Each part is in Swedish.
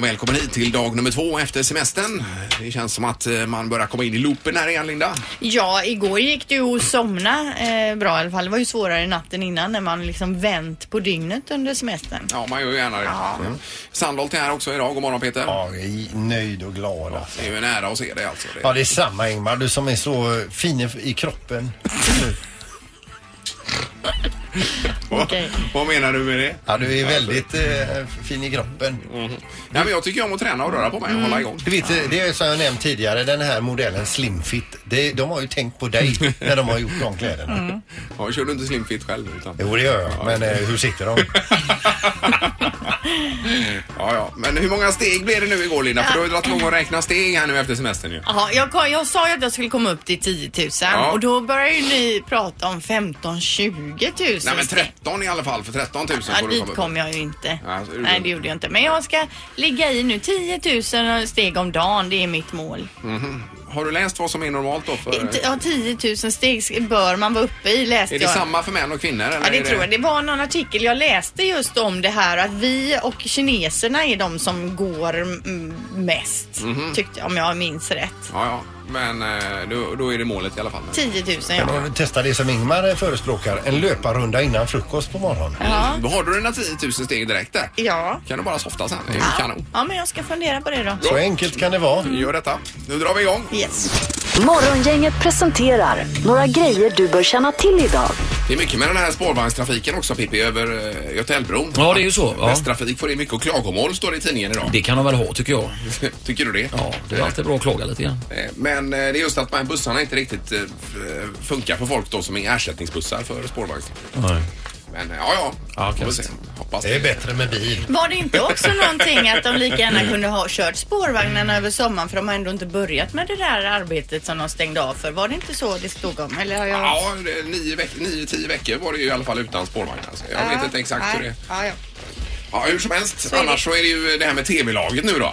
välkommen hit till dag nummer två efter semestern. Det känns som att eh, man börjar komma in i loopen här igen, Linda. Ja, igår gick det ju att somna eh, bra i alla fall. Det var ju svårare natten innan när man liksom vänt på dygnet under semestern. Ja, man gör ju gärna det. Mm. Sandholt är här också idag. God morgon, Peter. Ja, jag är nöjd och glad alltså. Det är ju en ära att se dig alltså. Det. Ja, det är samma Ingmar. Du som är så fin i- i kroppen. okej. Vad menar du med det? Ja, du är väldigt eh, fin i kroppen. Mm. Nej, men jag tycker om att träna och röra på mig och hålla igång. Du vet, eh, det är som jag nämnt tidigare, den här modellen Slimfit. Det, de har ju tänkt på dig när de har gjort de kläderna. Ja, kör du inte slimfit själv? Utan... Jo, det gör jag. Men eh, hur sitter de? Ja, ja. Men hur många steg blev det nu igår, Linda? För du har ju dragit igång och räknat steg här nu efter semestern ju. Jaha, jag, kom- jag sa ju att jag skulle komma upp till 10 000 Ja. och då börjar ju ni prata om 15 20 000 Nej, men steg. 13 i alla fall. För 13 000 Ja, får du dit komma upp. kom jag ju inte. Ja, så gjorde Nej, du. det gjorde jag inte. Men jag ska ligga i nu 10 000 steg om dagen. Det är mitt mål. Har du läst vad som är normalt då? För... Inte- Ja, 10 000 steg bör man vara uppe i läste Är det jag. samma för män och kvinnor? Eller Ja, det är tror jag. Det var någon artikel jag läste just om det här att vi och kineserna är de som går mm, mest. Mhm. Tyckte jag, om jag minns rätt. Ja, ja. Men eh, då, då är det målet i alla fall. 10 000 Men ja. om du testar det som Ingmar eh, förespråkar, en löparrunda innan frukost på morgonen. Ja. Då har du dina 10 000 steg direkt där. Ja. Kan du bara softa sen. Det är ju kanon. ja, men jag ska fundera på det då. Så enkelt kan det vara. Gör detta. Nu drar vi igång. Yes. Morgongänget presenterar några grejer du bör känna till idag. Det är mycket med den här spårvagnstrafiken också Pippi, över eh, Götaälvbron. Ja, det är ju så, ja. Västtrafik får in mycket klagomål står det i tidningen idag. Det kan de väl ha tycker jag. Tycker du det? Ja, det är alltid bra att klaga lite grann. Eh, Men eh, det är just att de här bussarna inte riktigt eh, funkar för folk då som är ersättningsbussar för spårvagn. Men eh, ja, ja. Ja, Får vi kanske. se. Hoppas Det är bättre med bil. Var det inte också någonting att de lika gärna kunde ha kört spårvagnarna över sommaren för de har ändå inte börjat med det där arbetet som de stängde av för. Var det inte så det stod om? Eller har jag... Ja, det är nio, veck nio, tio veckor var det ju i alla fall utan spårvagn. Alltså. Jag vet inte exakt nej. hur det är. Ja, ja. Ja, hur som helst. är det. Annars så är det ju det här med TV-laget nu då.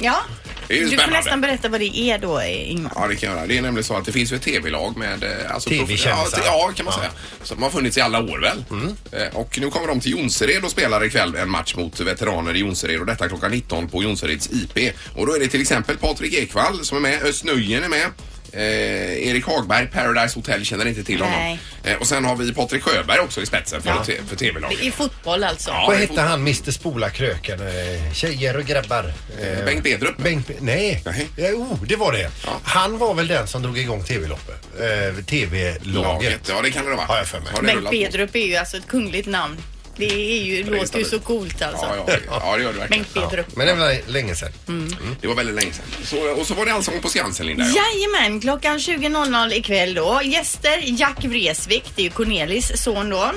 ja. Det är ju Du får spännande. nästan berätta vad det är då, Ingmar. Ja, det kan jag göra. Det är nämligen så att det finns ju ett TV-lag med... eh, Alltså, TV-kändisar. prof- Ja, ja, kan man säga. Som har funnits i alla år väl. Eh, Och nu kommer de till Jonsered och spelar ikväll en match mot veteraner i Jonsered och detta klockan 19 på Jonsereds IP. Och då är det till exempel Patrik Ekwall som är med, Özz Nujen är med. Eh, Erik Hagberg, Paradise Hotel känner inte till honom. Nej. Eh, och sen har vi Patrik Sjöberg också i spetsen för, Ja. te- för TV-laget. I fotboll alltså? Ja, Vad det hette han, Mr Spola Kröken? eh, Tjejer och grabbar. Eh, Bengt Bedrup. Bengt, Be- nej, Nej. Ja, jo det var det. Ja. Han var väl den som drog igång TV-loppet. Eh, Laget. TV-laget. Ja, det kan det vara. Har jag för mig. Har det Bengt rullat på? Bedrup är ju alltså ett kungligt namn. Det är ju, är låter ju stabilt. så coolt alltså. Ja, ja, ja, det gör det verkligen. Bengt Bedrup. Men det var länge sedan. Det var väldigt länge sedan. Så, och så var det Allsång på Skansen, Linda. ja. Jajamän, klockan 20.00 ikväll då. Gäster Jack Vreeswijk, det är ju Cornelis son då.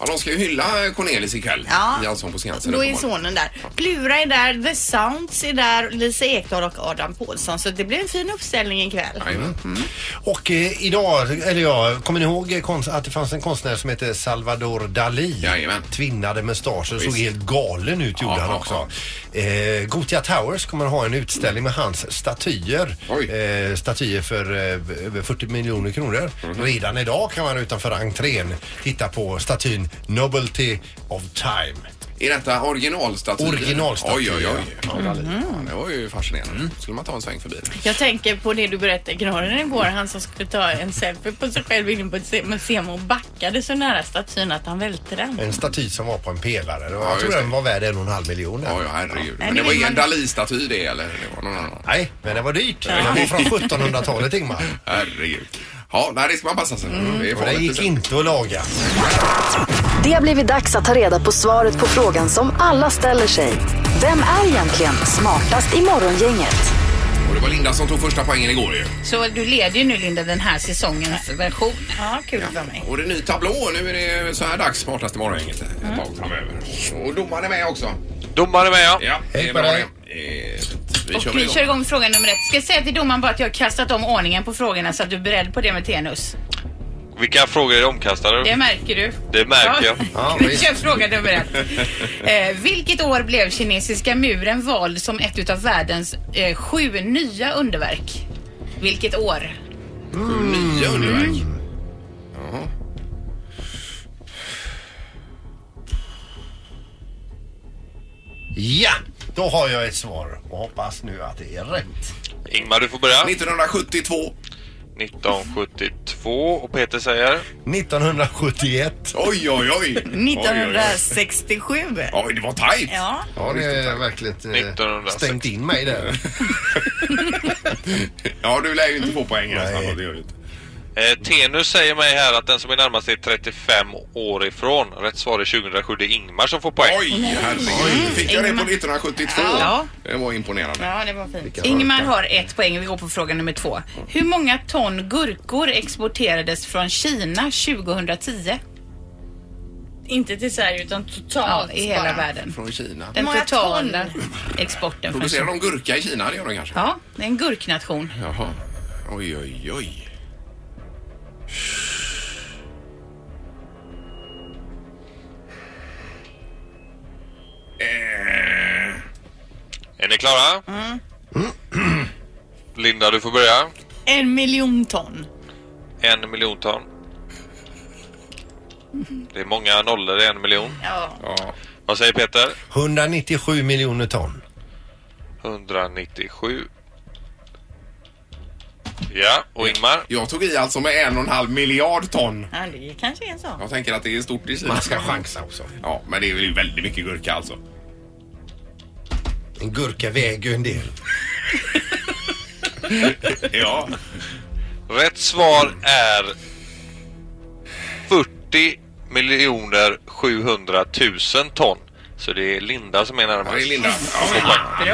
Ja, de ska ju hylla Cornelis ikväll Ja. i Allsång på Skansen. Då är uppenbarligen. sonen där. Plura är där, The Sounds är där, Lisa Ekdahl och Adam Pålsson. Så det blir en fin uppställning ikväll. Jajamän. Och eh, idag, eller ja, kommer ni ihåg eh, konst, att det fanns en konstnär som hette Salvador Dalí? Jajamän. Tvinnade mustascher, såg Visst. helt galen ut gjorde Ja, han ja, också. Eh, Gothia Towers kommer ha en utställning med hans statyer. Oj. Eh, statyer för eh, över 40 miljoner kronor. Mhm. Redan idag kan man utanför entrén titta på statyn Novelty of Time. Är detta originalstatyer? Originalstatyer, Oj, oj, oj. ja. Mm. Ja, det var ju fascinerande. Skulle man ta en sväng förbi? Jag tänker på det du berättade, Knorren igår, han som skulle ta en selfie på sig själv inne på ett museum och backade så nära statyn att han välte den. En staty som var på en pelare. just jag tror det. den var värd en och en halv miljon. Ja, ja, herregud. Nej, Men det det var vill ingen man- Dalí-staty det, eller? Det var någon annan. Nej, men det var dyrt. Den var från 1700-talet Ingmar. Herregud. Ja, nej, det ska man passa sig. Det är Mm. Och det farligt. gick inte att laga. Det har blivit dags att ta reda på svaret på frågan som alla ställer sig. Vem är egentligen smartast i morgongänget? Och det var Linda som tog första poängen igår ju. Så du leder ju nu Linda den här säsongens version. Ja, kul för mig. Och det är ny tablå. Nu är det så här dags, smartaste morgongänget, ett tag framöver. Och domaren är med också. Domare med ja. Ja, det är Hej bra på det. dig. Eh, Vi Och kör vi igång. kör igång med fråga nummer ett. Ska jag säga till domaren bara att jag har kastat om ordningen på frågorna så att du är beredd på det med tenus. Vilka frågor är det omkastade? Det märker du. Det märker jag. Ja, vi visst. kör fråga nummer ett. Eh, vilket år blev kinesiska muren vald som ett utav världens eh, sju nya underverk? Vilket år? Nya underverk. Mm. Ja! Då har jag ett svar och hoppas nu att det är rätt. Ingmar, du får börja. 1972. 1972 och Peter säger 1971. Oj, oj, oj. 1967. Oj, det var tajt. Ja. Ja, det är verkligen eh, 1960. stängt in mig där. Ja, du lär ju inte få poäng här. Nej. Sandra, det gör du inte. Eh, Tenus säger mig här att den som är närmast är 35 år ifrån. Rätt svar är 2007. Det är Ingmar som får poäng. Oj, herregud. Fick jag det på 1972? Mm. Ja. Det var imponerande. ja, det var fint. Ingmar har ett poäng. Vi går på fråga nummer två. Hur många ton gurkor exporterades från Kina 2010? Inte till Sverige utan Ja, totalt. i hela bara. världen. Från Kina. Den Många totala exporten från Producerar Kina. de gurka i Kina? Det gör de kanske? Ja, det är en gurknation. Jaha. Oj, oj, oj. Eh, Är ni klara? Linda, du får börja. En miljon ton. En miljon ton. Det är många nollor i en miljon. Ja. ja. Vad säger Peter? 197 miljoner ton. 197. Ja, och Ingmar? Jag tog i alltså med en och en halv miljard ton. ja, det kanske är en sån. Jag tänker att det är stort i Kina. Man ska chansa också. Ja, men det är väl väldigt mycket gurka alltså. En gurka väger ju en del. Ja. Rätt svar är 40 miljoner 700 000 ton. Så det är Linda som är Ja, det är närmast. Linda. Ja,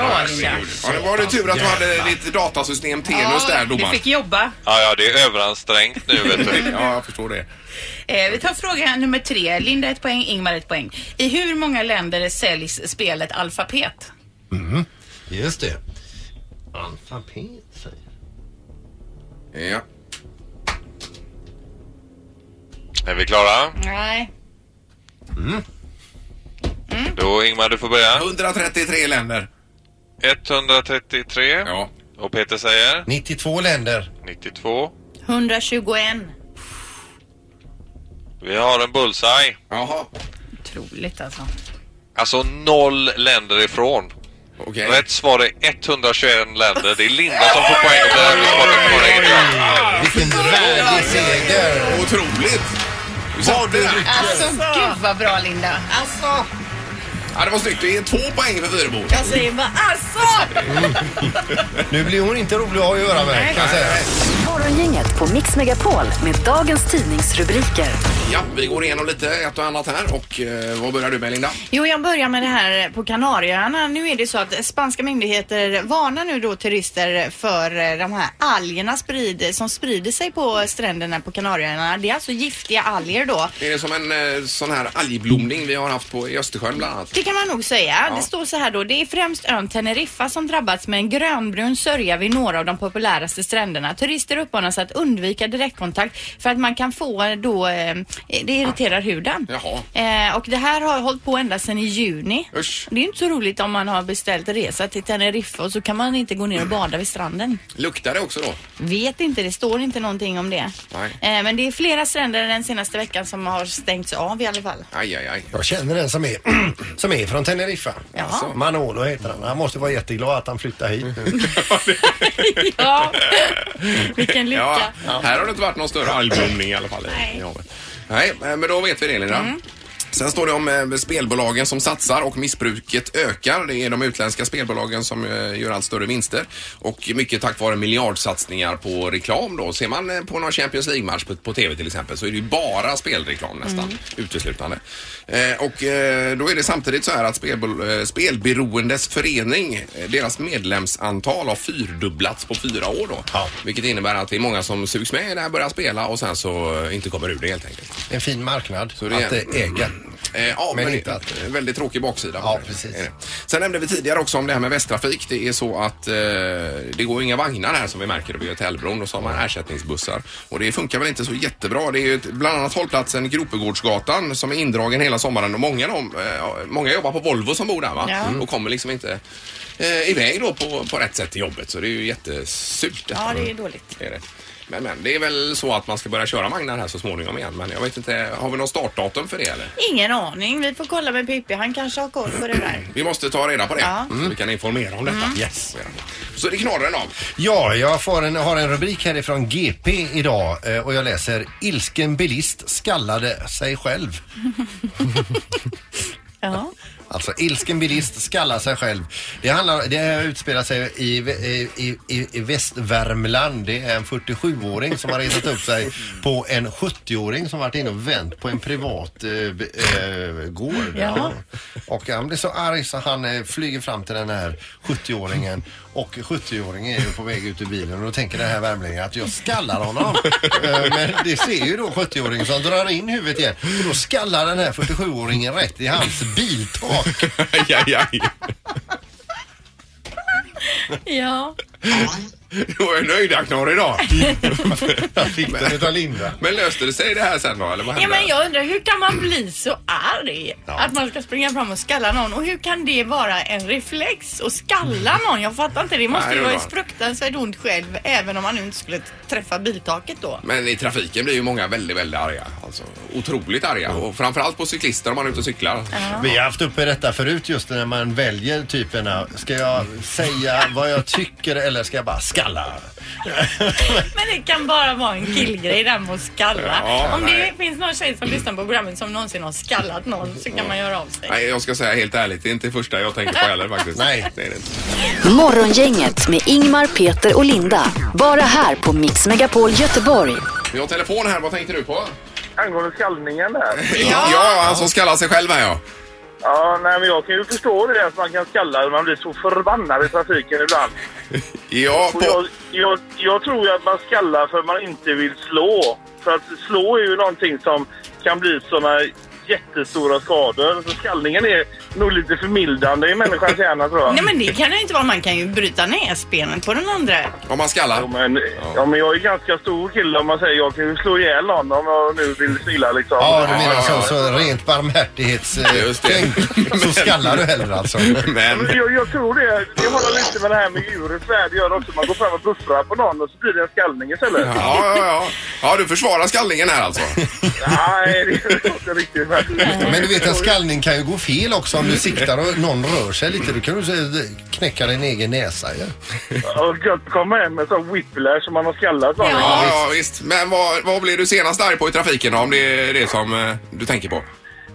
Bra Linda. ja, det var det tur att du hade ditt datasystem Tenus där du domaren. fick jobba. Ja, ja, det är överansträngt nu vet du. Ja, jag förstår det. Eh, vi tar fråga nummer tre. Linda ett poäng, Ingmar ett poäng. I hur många länder säljs spelet Alfabet? Just det. Alfabet säger Ja. Är vi klara? Nej. Då Ingmar, du får börja. 133 länder. 133. Ja. Och Peter säger 92 länder. 92. 121. Vi har en bullseye. Jaha. Otroligt alltså. Alltså noll länder ifrån. Okej. Rätt svar är 121 länder. Det är Linda som får poäng. för att vi har ett korrekt svar. Vilken värdig seger. Otroligt! Du satte det där. Alltså gud vad bra Linda. Alltså, Ja, det var snyggt. Det är två poäng för Fyrebo. jag säger bara alltså! Nu blir hon inte rolig att ha att göra med kan jag säga. Morgongänget på Mix Megapol med dagens tidningsrubriker. Ja, vi går igenom lite ett och annat här. Och eh, vad börjar du med Linda? Jo, jag börjar med det här på Kanarieöarna. Nu är det så att spanska myndigheter varnar nu då turister för eh, de här algerna sprid, som sprider sig på stränderna på Kanarieöarna. Det är alltså giftiga alger då. Är det som en eh, sån här algblomning vi har haft på, i Östersjön bland annat? Det kan man nog säga. Ja. Det står så här då. Det är främst ön Teneriffa som drabbats med en grönbrun sörja vid några av de populäraste stränderna. Turister uppmanas att undvika direktkontakt för att man kan få eh, då, eh, det irriterar huden. Jaha. Eh, och det här har hållit på ända sedan i juni. Usch. Det är ju inte så roligt om man har beställt resa till Teneriffa och så kan man inte gå ner och bada vid stranden. Luktar det också då? Vet inte, det står inte någonting om det. Nej. Eh, men det är flera stränder den senaste veckan som har stängts av i alla fall. Aj, aj, aj. Jag känner en som är, som är från Teneriffa. Alltså, Jaha. Manolo heter han. Han måste vara jätteglad att han flyttar hit nu. ja, vilken lycka. Ja, här har det inte varit någon större algblomning i alla fall. i- i havet. Nej, eh, men då vet vi det Linda. Sen står det om eh, spelbolagen som satsar och missbruket ökar. Det är de utländska spelbolagen som eh, gör allt större vinster och mycket tack vare miljardsatsningar på reklam då. Ser man eh, på någon Champions League-match på, på TV till exempel så är det ju bara spelreklam nästan, uteslutande. Eh, och eh, då är det samtidigt så här att spelbol- eh, Spelberoendes förening, eh, deras medlemsantal har fyrdubblats på fyra år då. Ja. Vilket innebär att det är många som sugs med när jag börjar spela och sen så eh, inte kommer ur det helt enkelt. En fin marknad det är- att eh, äga. Eh, ja, men, Men det inte är att- en väldigt tråkig baksida. på Ja, det. precis. Är det. Sen nämnde vi tidigare också om det här med Västtrafik. Det är så att eh, det går inga vagnar här som vi märker över Götaälvbron och så har man ersättningsbussar. Och det funkar väl inte så jättebra. Det är ju ett- bland annat hållplatsen Gropegårdsgatan som är indragen hela sommaren och många, de, eh, många jobbar på Volvo som bor där va? Ja. och kommer liksom inte eh, iväg då på, på rätt sätt till jobbet. Så det är ju jättesurt. detta. Ja, det är dåligt. Det är det. Men, men det är väl så att man ska börja köra vagnar här så småningom igen. Men jag vet inte, har vi någon startdatum för det eller? Ingen aning. Vi får kolla med Pippi. Han kanske har koll på det där. Vi måste ta reda på det. Ja. Mm. Så vi kan informera om detta. Yes. Så det knorrar den av. Ja, jag får en, har en rubrik härifrån GP idag eh, och jag läser Ilsken bilist skallade sig själv. Ja. Alltså ilsken bilist skallar sig själv. Det, handlar, det utspelar sig i, i, i, i Västvärmland. Det är en 47-åring som har resat upp sig på en 70-åring som varit inne och vänt på en privat eh, b- eh, gård. Ja. Och han blir så arg så han eh, flyger fram till den här 70-åringen och 70-åringen är ju på väg ut ur bilen och då tänker den här värmlingen att jag skallar honom. Eh, Men det ser ju då 70-åringen som drar in huvudet igen och då skallar den här 47-åringen rätt i hans biltak. aj, aj, aj. ja. Då är jag nöjd Aknar idag. Jag fick den utav Linda. Men löste det sig det här sen då? Eller vad Ja, hände? men jag undrar hur kan man bli så arg? Att man ska springa fram och skalla någon och hur kan det vara en reflex att skalla någon? Jag fattar inte, det måste Mm. Nej, ju det vara var- ett fruktansvärt ont själv även om man nu inte skulle träffa biltaket då. Men i trafiken blir ju många väldigt, väldigt arga. Alltså, otroligt arga. Och framförallt på cyklister om man är ute och cyklar. Vi har haft uppe detta förut just när man väljer typerna. Ska jag säga vad jag tycker eller ska jag bara skalla? Men det kan bara vara en killgrej där med att skalla. Ja, om nej. det finns någon tjej som lyssnar på programmet som någonsin har skallat någon så kan man göra av sig. Mm. Nej, jag ska säga helt ärligt, det är inte det första jag tänker på heller faktiskt. Nej. Det är det inte. Morgongänget med Ingmar, Peter och Linda. Bara här på Mix Megapol Göteborg. Vi har telefon här, vad tänkte du på? Angående skallningen där. Ja, ja han som skallar sig själv här ja. Ja, nej, men jag kan ju förstå det där att man kan skalla. Man blir så förbannad i trafiken ibland. Ja, Och jag, på... jag, jag tror ju att man skallar för man inte vill slå. För att slå är ju någonting som kan bli såna jättestora skador. Så skallningen är nog lite förmildrande i människans hjärna tror jag. Nej men det kan det ju inte vara, man kan ju bryta näsbenen på den andra. om man Ja, skallar. men, ja, men jag är ganska stor kille om man säger jag kan ju slå ihjäl någon om jag nu vill stilla liksom. Ja, du Ja, menar ja, ja. så, så rent Just det. barmhärtighetstänk. Så skallar du hellre alltså. Ja, Men men Jag, jag tror det. Det håller lite med det här med djurets värld gör också. Man går fram och buffrar på någon och så blir det en skallning istället. Ja, ja, ja. ja, du försvarar skallningen här alltså. Nej, det är inte riktigt. Men, Men du vet en skallning kan ju gå fel också om du siktar och någon rör sig lite. Då kan du så- knäcka din egen näsa ju. och gött komma hem med sån whiplash som man har skallat någon. Ja. Ja, ja visst. Men vad, vad blir du senast arg på i trafiken då, om det är det som eh, du tänker på?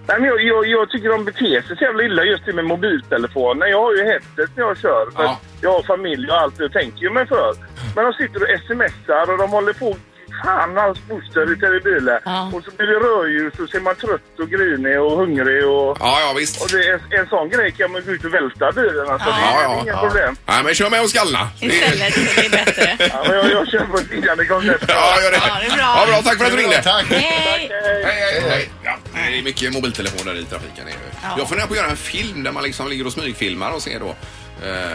Nej, men jag, jag, jag tycker de beter sig så jävla illa just det med mobiltelefonen. Jag har ju headset när jag kör. För Ja. att Jag har familj och allt. Jag tänker ju mig för. Men de sitter och smsar och de håller på Fan, hans moster i telebilen. Ja. Och så blir det rödljus och så är man trött och grinig och hungrig och... Ja, ja visst. Och det är en, en sån grej kan man gå ut och välta bilen. Alltså, Ja. det Ja, är ja, inga ja. problem. Nej, men kör med och skallna. Det- Istället så det är bättre. Ja, men jag, jag kör på ett liggande koncept. Ja, gör det. Ja, det är bra. Ja, bra. Tack för att du ringde. Tack! Hej! Hej, hej, hej. Ja, det är mycket mobiltelefoner i trafiken. Är det. Ja. Jag funderar på att göra en film där man liksom ligger och smygfilmar och ser då. Eh,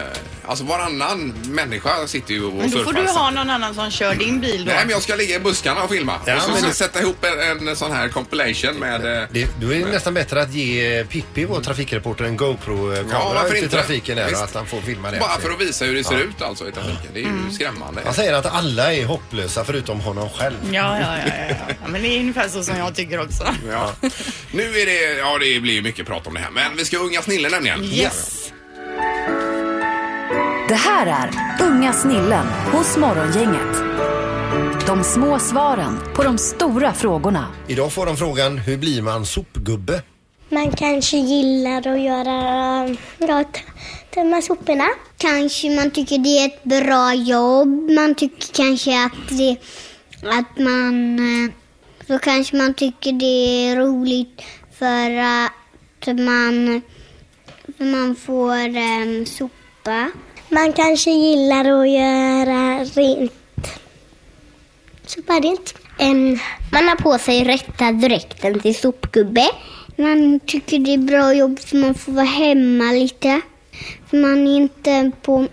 alltså varannan människa sitter ju och Men då surfar. får du så- ha någon annan som kör din bil då. Nej, men jag ska ligga i buskarna och filma. Ja, och så, men så det- sätta ihop en, en sån här compilation med... Eh, Det, då är det nästan bättre att ge Pippi, vår trafikreporter, en Ja, GoPro-kamera varför ute i inte? trafiken där Visst. och att han får filma det. bara för att visa hur det ser ut alltså i trafiken. Det är ju Mm. skrämmande. Han säger att alla är hopplösa förutom honom själv. Ja, ja, ja, ja, ja. ja. Men det är ungefär så som jag tycker också. Ja. Nu är det... Ja, det blir ju mycket prat om det här. Men vi ska unga snille nämligen. Yes. Det här är Unga snillen hos Morgongänget. De små svaren på de stora frågorna. Idag får de frågan, hur blir man sopgubbe? Man kanske gillar att göra, eh, ja, t- tömma soporna. Kanske man tycker det är ett bra jobb. Man tycker kanske att det, att man, eh, då kanske man tycker det är roligt för att man, för man får um, sopa. Man kanske gillar att göra rent Sopa rent. man har på sig rätta dräkten till sopgubbe. Man tycker det är bra jobb för man får vara hemma lite. För man är inte på...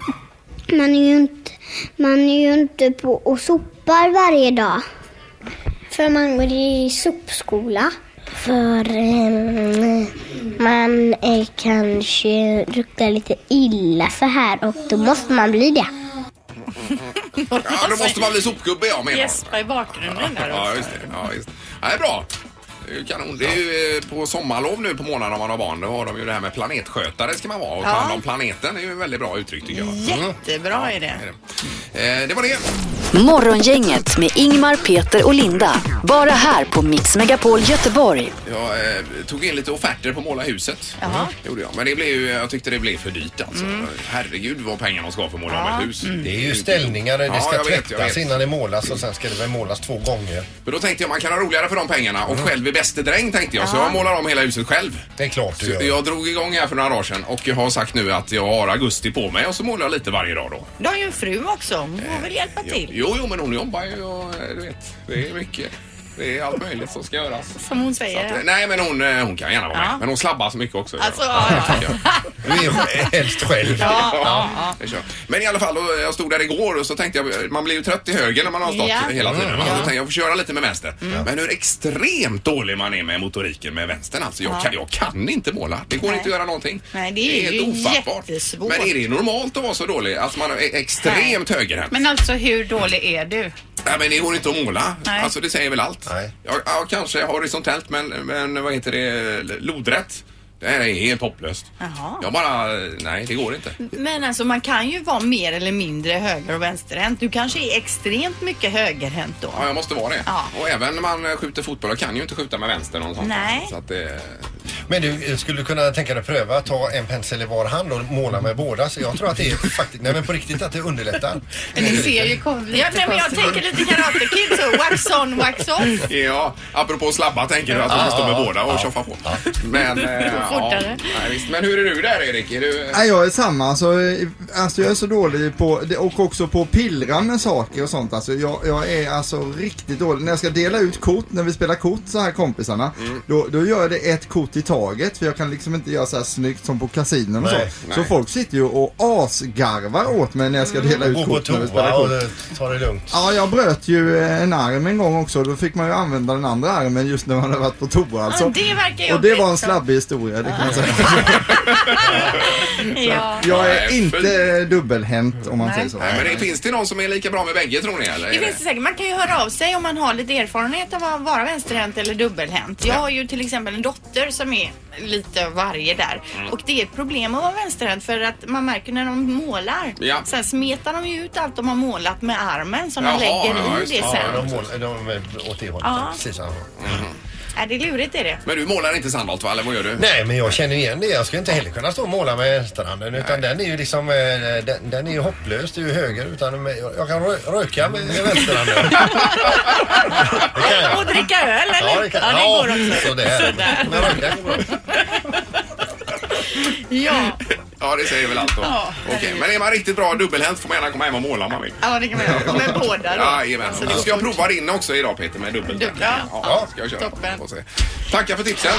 Man är ju inte, man är ju inte på och sopar varje dag. För man går i sopskola. För man kanske luktar lite illa så här och då måste man bli det. morgon. Ja, då måste man bli sopgubbe, ja, menar Gäspa i bakgrunden där Ja, också. just det. Ja, just det. Ja, det är bra. Det är ju kanon. Det är ju eh, på sommarlov nu på månaden om man har barn. Då har de ju det här med planetskötare ska man vara och ta Ja. hand om planeten. Det är ju ett väldigt bra uttryck tycker jag. Mm. Jättebra är det. Eh, Det var det. Morgongänget med Ingmar, Peter och Linda. Bara här på Mix Megapol Göteborg. Jag eh, tog in lite offerter på Måla huset. Jaha. Gjorde jag. Men det blev, ju- jag tyckte det blev för dyrt alltså. Mm. Herregud vad pengarna ska för att måla om ett hus. Det är ju ställningar, det Ja, ska jag vet, jag vet. tvättas innan det målas och sen ska det väl målas två gånger. Men då tänkte jag man kan ha roligare för de pengarna och själv är bäste dräng tänkte jag. Så Ja. jag målar om hela huset själv. Det är klart du Så gör. jag drog igång här för några dagar sedan och jag har sagt nu att jag har augusti på mig och så målar jag lite varje dag då. Du har ju en fru också. Hon får väl hjälpa till. Jo, jo, men hon jobbar ju och eh, du vet, det är mycket. Det är allt möjligt som ska göras. Som hon säger. Nej, men hon, eh, hon kan gärna vara med. Ja. Men hon slabbar så mycket också. Alltså, ja, Du är helst själv. Ja, ja, ja. det kör. Men i alla fall, då, jag stod där igår och så tänkte jag, man blir ju trött i höger när man har stått Ja. hela tiden. Mm. Mm. Så Ja. tänkte jag, jag får köra lite med vänster. Men hur extremt dålig man är med motoriken med vänstern alltså. Jag, Ja. kan, jag kan inte måla. Det går Nej. inte att göra någonting. Nej, det är helt ju ofattbart. jättesvårt. Men är det normalt att vara så dålig? Att man är extremt högerhänt? Men alltså hur dålig är du? Nej men det går inte att måla. Nej. Alltså det säger väl allt. Nej. Ja, ja, kanske horisontellt men, men vad heter det, lodrätt. Det här är helt hopplöst. Jaha. Jag bara, nej det går inte. Men alltså man kan ju vara mer eller mindre höger och vänsterhänt. Du kanske är extremt mycket högerhänt då. Ja, jag måste vara det. Ja. Och även när man skjuter fotboll, jag kan ju inte skjuta med vänster någon sån. Nej. Så att det... Men du, eh, skulle du kunna tänka dig att pröva att ta en pensel i var hand och måla med båda? Så jag tror att det är faktiskt, nej men på riktigt att det underlättar. Ni ser ju kom lite Ja, nej, men jag konstigt. tänker lite Karate Kid så. Wax on, wax off. Ja, apropå slabba tänker du att de Ja, står med ja, båda och tjoffa på. Men, eh, ja, Fortare. nej, visst. men hur är du där Erik? Är du... Nej, jag är samma. Alltså, eh, alltså, jag är så dålig på, det- och också på att pillra med saker och sånt. Alltså, jag, jag är alltså riktigt dålig. När jag ska dela ut kort, när vi spelar kort så här kompisarna, Mm. då, då gör jag det ett kort i taget. För jag kan liksom inte göra så här snyggt som på kasinon och så. Nej, Så nej. folk sitter ju och asgarvar åt mig när jag ska dela ut Gå på kort när vi spelar toa Mm. och kort. eh, ta det lugnt. Ja, jag bröt ju eh, en arm en gång också. Då fick man ju använda den andra armen just när man hade varit på toa alltså. Ja, det verkar och det jobbigt, var en så. slabbig historia, det kan man säga. Ja. Jag är Nej, inte dubbelhänt om man Nej. säger så. Nej, men det, finns det någon som är lika bra med bägge tror ni eller? Det finns det säkert. Man kan ju höra av sig om man har lite erfarenhet av att vara vänsterhänt eller dubbelhänt. Jag har ju till exempel en dotter som är lite av varje där. Mm. Och det är ett problem att vara vänsterhänt för att man märker när de målar. Ja. Sen smetar de ju ut allt de har målat med armen som Jaha, de lägger ja, i just det det. sen. Ja, De, mål, de är åt det hållet. Ja. Precis. Är det är lurigt är det. Men du målar inte Sandholt va? Eller vad gör du? Nej, men jag känner igen det. Jag skulle inte heller kunna stå och måla med vänsterhanden utan den är ju liksom, eh, den, den är ju hopplös. Det är ju höger utan med- jag kan rö- röka med vänsterhanden. Och dricka öl eller? Ja, det kan- ja, går också. sådär. Men röka Ja. Ja, det säger väl allt då. Ja, Okej, men är man riktigt bra dubbelhänt får man gärna komma hem och måla om man vill. ja, det kan man göra. Med båda då. Jajamän. Så det går Ska jag prova din också idag Peter med dubbel? Dubbel, ja. ja, ska jag köra. Toppen. Mm. Får se. Tackar för tipsen.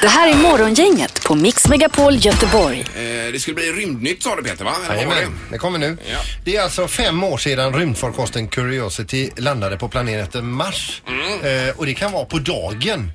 Det här är Morgongänget på Mix Megapol Göteborg. Eh, det skulle bli rymdnytt sa du Peter va? Eller vad var Jajamän, det kommer nu. Det är alltså fem år sedan rymdfarkosten Curiosity landade på planeten Mars. Eh, och det kan vara på dagen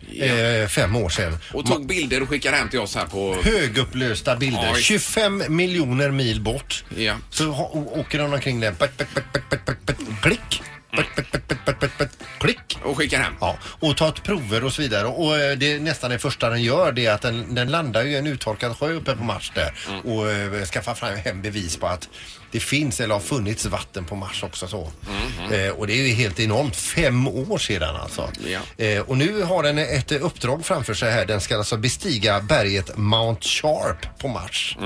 eh, fem år sedan. det? Och tog bilder och skickade hem till oss här på... Högupplösta bilder, Ja, visst. 25 miljoner mil bort. Ja. Så ha, å- åker de omkring där. Pet, pet, pet, pet, pet, pet, pet, Klick! Pet, pet, pet, pet, pet, pet, pet, Klick! Och skickar hem. Ja, och tar ett prover och så vidare. Och eh, det är nästan det första den gör det är att den, den landar ju i en uttorkad sjö uppe på Mars där och eh, skaffar fram hem bevis på att det finns eller har funnits vatten på Mars också så. Eh, och det är ju helt enormt. Fem år sedan alltså. Eh, och nu har den ett eh, uppdrag framför sig här. Den ska alltså bestiga berget Mount Sharp på Mars.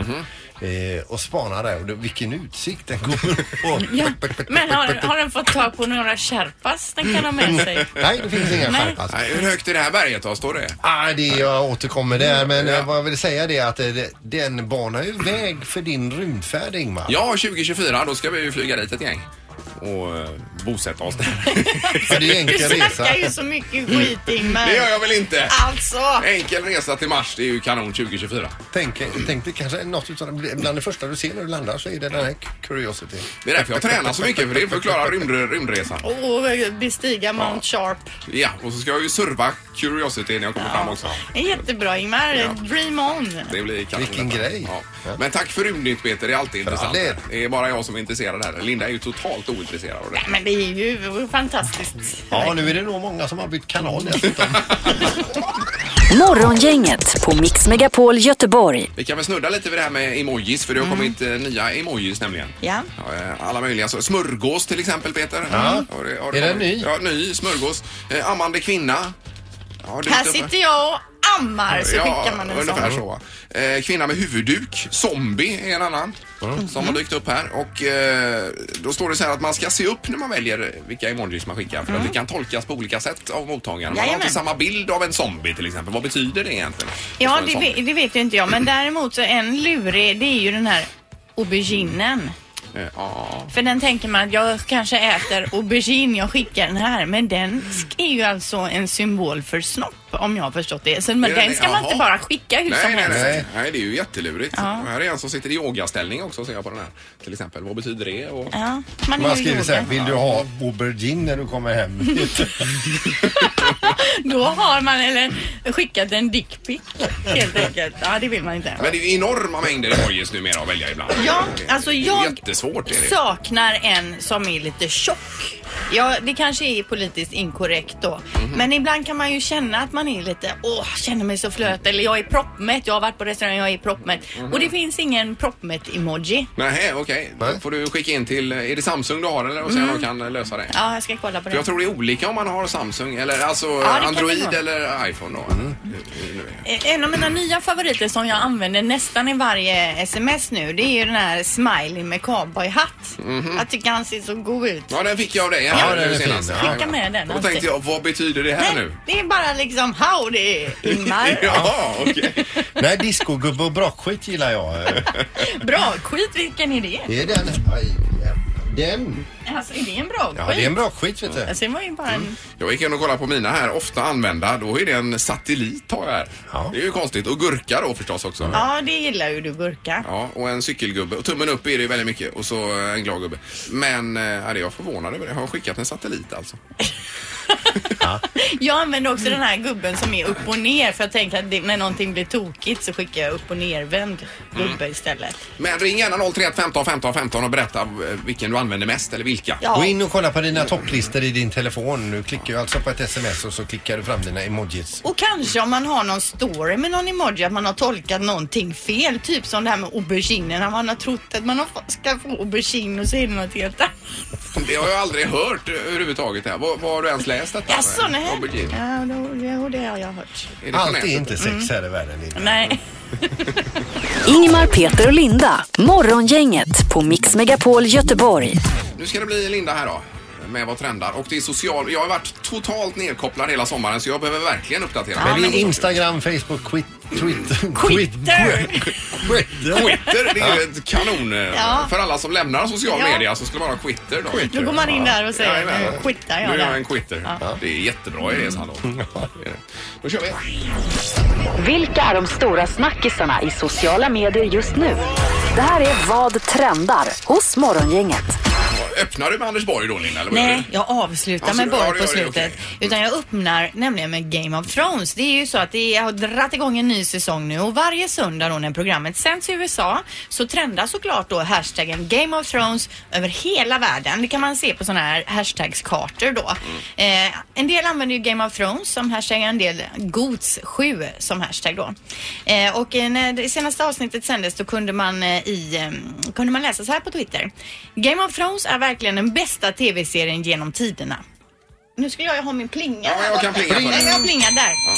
Eh, och spana där. Och det, vilken utsikt den kommer på. Men har, har den fått tag på några sherpas den kan ha med sig? Nej, det finns inga Nej. skärpas. Nej, hur högt är det här berget då? Står det? Ah, det jag återkommer Mm, där, men eh, vad jag vill säga det är att eh, det- den banar ju väg för din rymdfärd Ingmar. Ja, 2024 då ska vi ju flyga dit ett gäng. Och eh, bosätta oss där. Du snackar ju så mycket skit Ingmar. Det gör jag väl inte? Alltså. Enkel resa till Mars, det är ju kanon 2024. Tänk, tänk dig kanske något utav det, bland det första du ser när du landar så är det den här Curiosity. Det är därför jag tränar så mycket, för det förklarar rymd, rymdresan. Och bestiga Mount Sharp. Ja, och så ska jag ju surfa Curiosity när jag kommer fram också. Jättebra Ingmar. Dream on. Det blir kanon. Vilken grej. Ja. Men tack för rymdnytt Peter, det är alltid intressant. Det är bara jag som är intresserad här. Linda är ju totalt ointresserad av det. Nej, men det är ju fantastiskt. Ja, nu är det nog många som har bytt kanal Morgongänget på Mix Megapol Göteborg. Vi kan väl snudda lite vid det här med emojis för det har kommit eh, nya emojis nämligen. Mm. Ja. Ja, eh, Alla möjliga. Så smörgås till exempel Peter. Ja. Har det- har Är den kommit? ny? Ja, ny smörgås. Eh, Ammande kvinna. Ja, Här dykt upp. sitter jag och ammar så skickar man en ungefär sån. så. va. Eh, kvinna med huvudduk, zombie är en annan Mm. som har dykt upp här. Och eh, då står det så här att man ska se upp när man väljer vilka emojis man skickar för att det kan tolkas på olika sätt av mottagaren. Man har Mm. Jajamän. inte samma bild av en zombie till exempel. Vad betyder det egentligen? Ja, Som en det, zombie. ve- det vet ju inte jag. Men däremot så en lurig, det är ju den här auberginen. Eh, ja. För den tänker man att jag kanske äter aubergine, jag skickar den här. Men den sk- är ju alltså en symbol för snopp om jag har förstått det. Så, men Är den- den ska man jaha. inte bara skicka hur Nej, som nej, helst. nej. nej, det är ju jättelurigt. Ja. Och Här är en som sitter i yogaställning också ser jag på den här. Till exempel, vad betyder det? Och... Ja, man, Man gör skriver yoga. så här, Vill du ha aubergine när du kommer hem? Då har man eller skickat en dickpic helt enkelt. Ja, det vill man inte. Men det är ju enorma mängder emojis numera att välja ibland. Ja, alltså jag Jättesvårt är det. saknar en som är lite tjock. Ja, det kanske är politiskt inkorrekt då. Mhm. Men ibland kan man ju känna att man är lite, åh, känner mig så flöt. Eller jag är proppmätt. Jag har varit på restaurang, jag är proppmätt. Mhm. Och det finns ingen proppmätt-emoji. Nähä, okej. Då får du skicka in till, är det Samsung du har eller? Och se om de kan lösa det. Mm. Ja, jag ska kolla på För det. jag tror det är olika om man har Samsung eller alltså det kan det Android vara. eller iPhone då. Hur- hur nu är det? Eh, En av mina nya favoriter som jag använder nästan i varje sms nu, det är ju den här smiley med cowboyhatt. Mhm. Jag tycker han ser så god ut. Ja, den fick jag av dig Ja, här den nu är fin. senast. Ja. Ja, Skicka med den Då alltid. tänkte jag, vad betyder det här nu? Det är bara liksom howdy Ingmar. ja, okej. Nej, discogubbe och brakskit gillar jag. Bra skit, vilken är det? Det är den. Aj, Den. Alltså är det en bra skit? skit vet Alltså det var ju bara en... Jag gick in och kollade på mina här, ofta använda. Då är det en satellit har jag här. Det är ju konstigt. Och gurka då förstås också. Ja, det gillar ju du gurka. Ja, och en cykelgubbe. Och tummen upp är det ju väldigt mycket. Och så eh, en glad gubbe. Men eh, ja, det är jag förvånad över. det. Jag har skickat en satellit alltså. Jag använder också den här gubben som är upp och ner för jag tänker att det, när någonting blir tokigt så skickar jag upp och nervänd gubbe Mm. istället. Men ring gärna 031 15 15 15 och berätta eh, vilken du använder mest eller vilka. Gå in och kolla på dina topplistor i din telefon. Du klickar ju alltså på ett sms och så klickar du fram dina emojis. Och kanske om man har någon story med någon emoji att man har tolkat någonting fel. Typ som det här med auberginen. att Man har trott att man har fått- ska få aubergine och så är det något helt annat. Det har jag aldrig hört eh, överhuvudtaget. Här. Vad, vad har du ens läst detta? Jaså, nej. Aubergine. Ja, då, ja, det har jag hört. Är det på Allt är nätet? inte sex här i världen. Nej. Ingmar, Peter och Linda. Morgongänget på Mix Megapol Göteborg. Nu ska det bli Linda här då med vad trendar och det är social. Jag har varit totalt nedkopplad hela sommaren så jag behöver verkligen uppdatera Men mig. det är Instagram, Facebook, quit, Twitter. Twitter! Quitter, det är ju ett kanon. eh, Ja. För alla som lämnar social Ja. media så skulle man ha quitter då. Då går man in där och säger Jajamän. nu quittar jag Nu är jag där. en quitter. Ja. Det är jättebra idé, Sandro. Mm. Det är det. Då kör vi. Vilka är de stora snackisarna i sociala medier just nu? Det här är Vad trendar hos Morgongänget. Öppnar du med Anders Borg då, Linda? Eller vad gör Nej, du? jag avslutar Alltså, med ja, Borg det på gör det, slutet. Utan jag öppnar nämligen med Game of Thrones. Det är ju så att det har dratt igång en ny säsong nu och varje söndag då när programmet sänds i USA så trendar såklart då hashtaggen Game of Thrones över hela världen. Det kan man se på sådana här hashtagskartor då. Eh, en del använder ju Game of Thrones som hashtag, en del Gots7 som hashtag då. Eh, och eh, när det senaste avsnittet sändes då kunde man, eh, i, eh, kunde man läsa så här på Twitter. Game of Thrones är verkligen den bästa tv-serien genom tiderna. Nu skulle jag ju ha min plinga. Ja, jag kan plinga för dig. Nej, men jag plingar där. Mhm.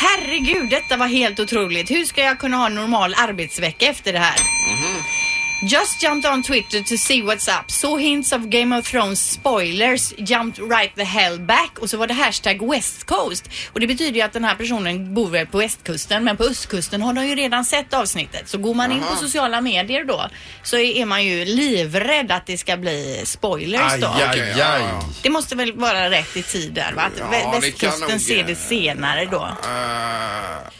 Herregud, detta var helt otroligt. Hur ska jag kunna ha en normal arbetsvecka efter det här? Just jumped on Twitter to see what's up. Saw hints of Game of Thrones spoilers. Jumped right the hell back. Och så var det hashtag West Coast. Och det betyder ju att den här personen bor väl på västkusten men på östkusten har de ju redan sett avsnittet. Så går man in på Jaha. sociala medier då så är man ju livrädd att det ska bli spoilers då. Aj, aj, aj. Ja. Det måste väl vara rätt i tid där va? Att Ja, vä- det kan västkusten nog- ser det senare då. Eh,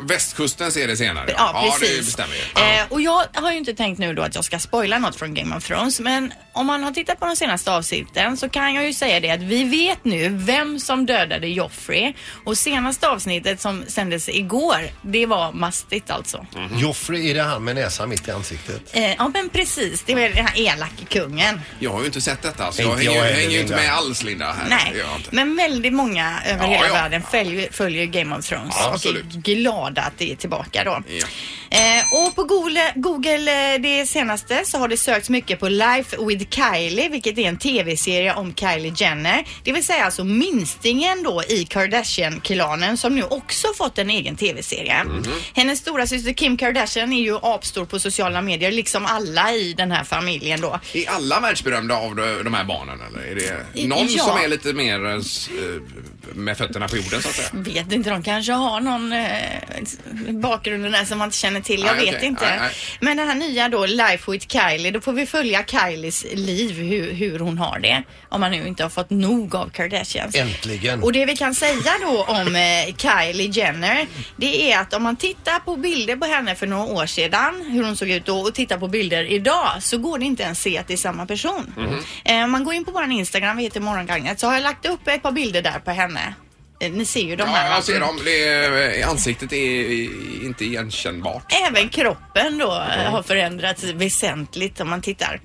västkusten ser det senare. Ja, ja det precis. bestämmer ju. Eh, och jag har ju inte tänkt nu då att jag ska spoila något från Game of Thrones men om man har tittat på de senaste avsnitten så kan jag ju säga det att vi vet nu vem som dödade Joffrey och senaste avsnittet som sändes igår det var mastigt alltså. Mm. Mm-hmm. Joffrey, är det han med näsan mitt i ansiktet? Eh, ja men precis, det var den här elake kungen. Jag har ju inte sett detta Inte så jag hänger, jag jag heller, hänger ju inte Linda. med alls Linda. Här. Nej, Det gör jag inte. men väldigt många över Ja, hela ja. världen följer, följer Game of Thrones Ja, och absolut. är glada att det är tillbaka då. Ja. Eh, och på Google, Google eh, det senaste så har det sökts mycket på Life with Kylie, vilket är en tv-serie om Kylie Jenner. Det vill säga alltså minstingen då i Kardashian-klanen som nu också fått en egen tv-serie. Mhm. Hennes stora syster Kim Kardashian är ju apstor på sociala medier, liksom alla i den här familjen då. Är alla världsberömda av de de här barnen eller? Är det I- någon ja. som är lite mer eh, s- eh, med fötterna på jorden så att säga? Vet inte, de kanske har någon eh, bakgrund där som man inte känner till. Jag Nej, vet okej. inte. Nej, nej. Men den här nya då, Life with Kylie, då får vi följa Kylies liv, hur, hur hon har det. Om man nu inte har fått nog av Kardashians. Äntligen. Och det vi kan säga då om eh, Kylie Jenner, det är att om man tittar på bilder på henne för några år sedan, hur hon såg ut då och tittar på bilder idag så går det inte ens se att det är samma person. Mhm. Eh, om man går in på vår Instagram, vi heter Morgongagnet, så har jag lagt upp ett par bilder där på henne. Eh, ni ser ju de här. alltså. Ja, jag ser dem. Det är, eh, ansiktet är eh, inte igenkännbart. Även kroppen då eh, har förändrats väsentligt om man tittar.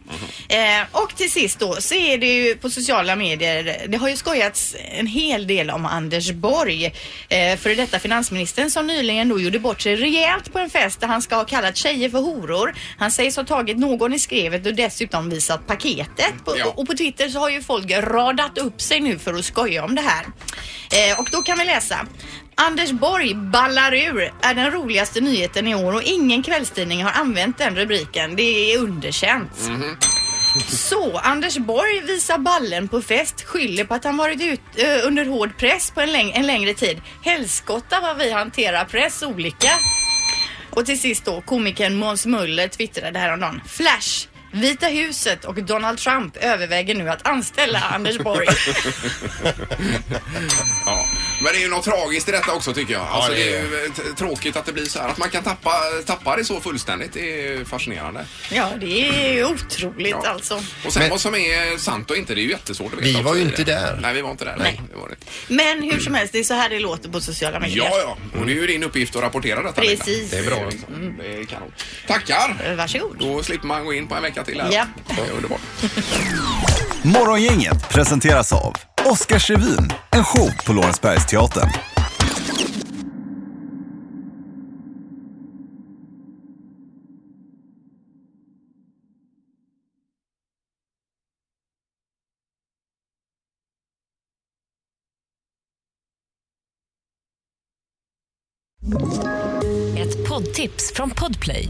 Eh, och till sist då så är det ju på sociala medier, det har ju skojats en hel del om Anders Borg, eh, före detta finansministern som nyligen då gjorde bort sig rejält på en fest där han ska ha kallat tjejer för horor. Han sägs ha tagit någon i skrevet och dessutom visat paketet. På, Ja. Och på Twitter så har ju folk radat upp sig nu för att skoja om det här. Eh, och då kan vi läsa. Anders Borg ballar ur är den roligaste nyheten i år och ingen kvällstidning har använt den rubriken. Det är underkänt. Så Anders Borg visar ballen på fest, skyller på att han varit ut, eh, under hård press på en, läng- en längre tid. Helskotta vad vi hanterar press olika. Och till sist då komikern Måns Möller twittrade häromdagen. Flash! Vita huset och Donald Trump överväger nu att anställa Anders Borg. Ja. Men det är ju något tragiskt i detta också tycker jag. Alltså, det är ju eh, t- tråkigt att det blir så här. Att man kan tappa, tappa det så fullständigt det är fascinerande. Ja, det är ju otroligt alltså. Och sen vad som är sant och inte, det är ju jättesvårt att veta. Vi var också ju i inte det. där. Nej, vi var inte där. Nej. Det var det. Men hur som helst, det är så här det låter på sociala medier. Ja, ja. Och det är ju din uppgift att rapportera detta. Linda. Precis. Det är bra. liksom. Det är kanon. Tackar! Eh, Varsågod. Då slipper man gå in på en vecka till här. Ja. Det är underbart. Morgongänget presenteras av Oscarsrevyn, en show på Lorensbergsteatern. Ett poddtips från Podplay.